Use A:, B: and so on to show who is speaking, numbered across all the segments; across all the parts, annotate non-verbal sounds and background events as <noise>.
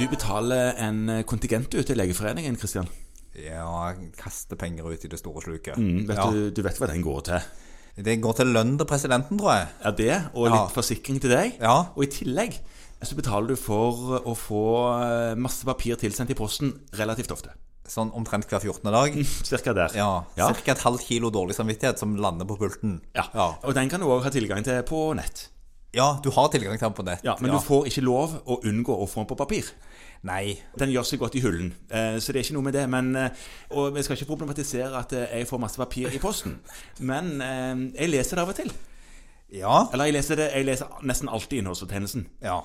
A: Du betaler en eh, kontingent ut til Legeforeningen, Kristian.
B: Ja, kaste penger ut i det store sluket.
A: Mm, vet
B: ja.
A: du, du vet hva den går til.
B: Det går til lønn til presidenten, tror jeg.
A: Er det, og litt
B: Ja.
A: forsikring til deg.
B: Ja.
A: Og i tillegg eh, så betaler du for å få eh, masse papir tilsendt i posten relativt ofte.
B: Sånn omtrent hver 14. dag.
A: Cirka der.
B: Ja,
A: Mm. Ja.
B: Cirka et halvt kilo dårlig samvittighet som lander på pulten.
A: Ja.
B: ja.
A: Og den kan du òg ha tilgang til på nett.
B: Ja, du har tilgang til den på nett.
A: Ja, Men du får ikke lov å unngå å få den på papir.
B: Nei.
A: Den gjør seg godt i hullen, eh, så det er ikke noe med det. Men, eh, og vi skal ikke problematisere at eh, jeg får masse papir i posten, men eh, jeg leser det av og til.
B: Ja.
A: Eller jeg leser, det, jeg leser nesten alltid innholdsfortjenelsen.
B: Ja.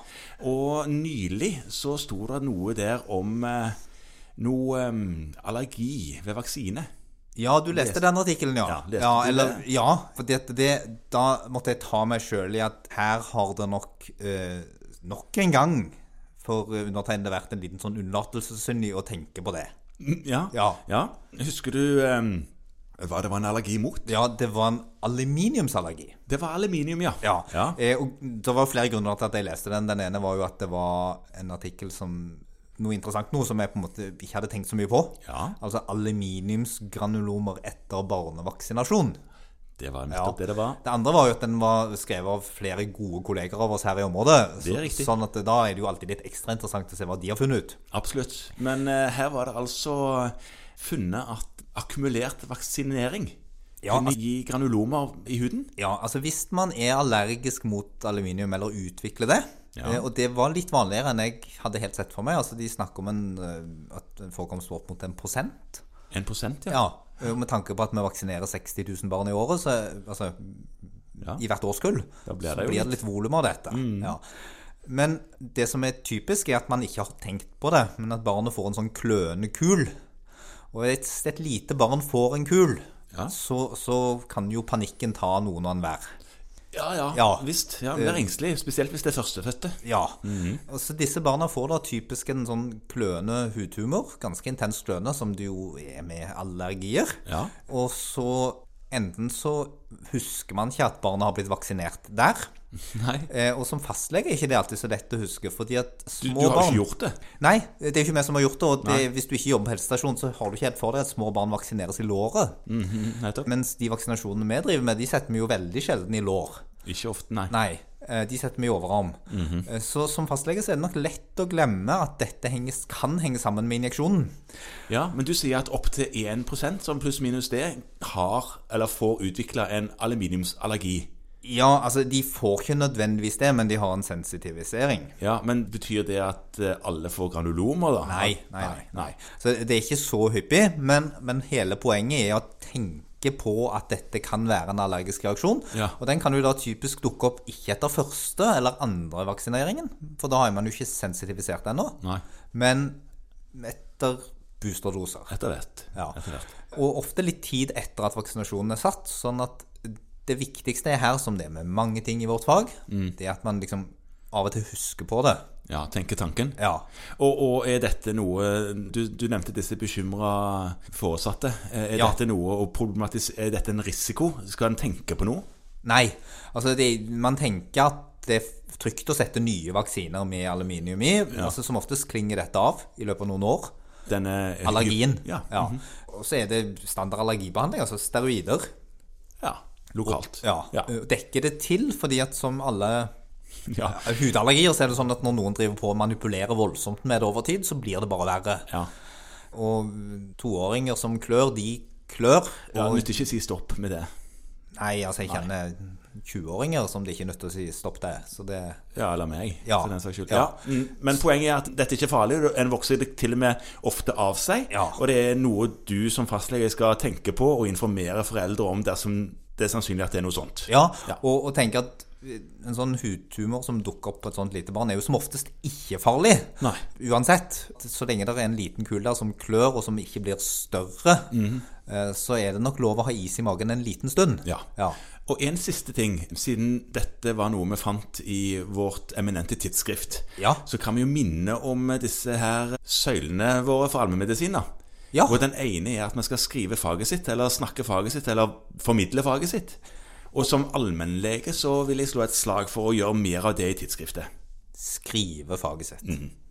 A: Og nylig så sto det noe der om eh, noe eh, allergi ved vaksine.
B: Ja, du leste den artikkelen, ja.
A: Ja, leste
B: ja,
A: du
B: eller,
A: det?
B: ja for det, det, da måtte jeg ta meg sjøl i at her har det nok eh, nok en gang for undertegnede vært en liten sånn unnlatelsessynd i å tenke på det.
A: Mm, Ja.
B: Ja.
A: Husker du eh, hva det var en allergi mot?
B: Ja, det var en aluminiumsallergi.
A: Det var aluminium, ja.
B: Ja.
A: Ja.
B: Eh, og det var flere grunner til at jeg leste den. Den ene var jo at det var en artikkel som noe interessant noe som jeg på en måte ikke hadde tenkt så mye på.
A: Ja.
B: Altså aluminiumsgranulomer etter barnevaksinasjon.
A: Det var nettopp det det var.
B: Det andre var jo at den var skrevet av flere gode kolleger av oss her i området.
A: Det er riktig.
B: sånn at da er det jo alltid litt ekstra interessant å se hva de har funnet ut.
A: Absolutt. Men eh, her var det altså funnet at akkumulert vaksinering
B: Ja,
A: kunne
B: altså-
A: gi granulomer i huden.
B: Ja, altså hvis man er allergisk mot aluminium eller utvikler det,
A: Ja.
B: eh, og det var litt vanligere enn jeg hadde helt sett for meg, altså de snakker om en, eh, at en forekomst opp mot en prosent,
A: 1 prosent, ja.
B: ja, eh, med tanke på at vi vaksinerer 60 000 barn i året, så, eh, altså
A: Ja.
B: i hvert årskull,
A: Da blir det
B: så
A: jo Mm.
B: blir det litt volum av dette. Ja. Men det som er typisk er at man ikke har tenkt på det, men at barnet får en sånn kløende kul. Og hvis et lite barn får en kul,
A: Ja.
B: så, så kan jo panikken ta noen og enhver.
A: Ja, ja.
B: Ja. Eh.
A: Visst. Ja, det er engstelig. Spesielt hvis det er førstefødte. <laughs>
B: Ja.
A: Mhm.
B: og så disse barna får da typisk en sånn kløende hudhumor, ganske intens kløende, som det jo er med allergier.
A: Ja.
B: Og så enten så husker man ikke at barna har blitt vaksinert der,
A: Nei.
B: eh, og som fastlege er ikke det alltid så lett å huske, fordi at
A: Du,
B: små
A: du har
B: barn
A: ikke gjort det.
B: Nei, det er jo ikke vi som har gjort det, og det, hvis du ikke jobber på helsestasjon, så har du ikke helt for deg at små barn vaksineres i låret.
A: Mm. Nettopp.
B: Mens de vaksinasjonene vi driver med, de setter vi jo veldig sjelden i lår.
A: Ikke ofte, nei.
B: Nei, eh, de setter vi i overarm.
A: Mhm.
B: Eh, Så som fastlege så er det nok lett å glemme at dette henges, kan henge sammen med injeksjonen.
A: Ja, Men du sier at opptil 1 som pluss minus det, har eller får utvikla en aluminiumsallergi.
B: Ja, altså de får ikke nødvendigvis det, men de har en sensitivisering.
A: Ja, Men betyr det at eh, alle får granulomer, da?
B: Nei, nei, nei. nei. Så det er ikke så hyppig, men, men hele poenget er å tenke på at dette kan være en allergisk reaksjon.
A: Ja.
B: Og den kan jo da typisk dukke opp ikke etter første eller andre vaksineringen, for da er man jo ikke sensitivisert ennå,
A: Nei.
B: men etter boosterdoser.
A: Etter hvert.
B: Ja.
A: Etter hvert.
B: Og ofte litt tid etter at vaksinasjonen er satt. Sånn at det viktigste er her, som det er med mange ting i vårt fag,
A: Mm.
B: det er at man liksom av og til husker på det.
A: Ja, tenker tanken.
B: Ja.
A: Og, og er dette noe Du, du nevnte disse bekymra foresatte. Eh, Er
B: Ja.
A: dette noe å problematisere Er dette en risiko? Skal en tenke på noe?
B: Nei. Altså, det, man tenker at det er trygt å sette nye vaksiner med aluminium i. Altså, som oftest klinger dette av i løpet av noen år.
A: Denne
B: Allergien.
A: Ja. Mhm.
B: Og så er det standard allergibehandling, altså steroider.
A: ja. Lokalt.
B: Ja.
A: Ja.
B: Dekker det til, fordi at som alle
A: ja.
B: Ja, Hudallergier så er det sånn at når noen driver på og manipulerer voldsomt med det over tid, så blir det bare verre.
A: ja.
B: Og toåringer som klør, de klør.
A: Ja,
B: Og
A: Nytter ikke å si stopp med det.
B: nei, altså, jeg kjenner 20-åringer som det ikke er nødt til å si stopp til. Så det
A: Ja, eller meg,
B: Ja.
A: for den saks skyld.
B: Ja.
A: Ja. mm, Men poenget er at dette er ikke farlig. og En vokser det til og med ofte av seg.
B: Ja.
A: Og det er noe du som fastlege skal tenke på og informere foreldre om dersom det er sannsynlig at det er noe sånt.
B: Ja, og, og tenke at en sånn hudtumor som dukker opp på et sånt lite barn, er jo som oftest ikke farlig.
A: Nei.
B: Uansett. Så lenge det er en liten kule der som klør, og som ikke blir større, eh, så er det nok lov å ha is i magen en liten stund.
A: Mhm. Ja.
B: ja.
A: Og en siste ting, siden dette var noe vi fant i vårt eminente tidsskrift,
B: Ja.
A: så kan vi jo minne om disse her søylene våre for allmennmedisin. da.
B: Ja.
A: Hvor den ene er at man skal skrive faget sitt, eller snakke faget sitt, eller formidle faget sitt. Og som allmennlege så vil jeg slå et slag for å gjøre mer av det i tidsskriftet.
B: skrive faget sitt.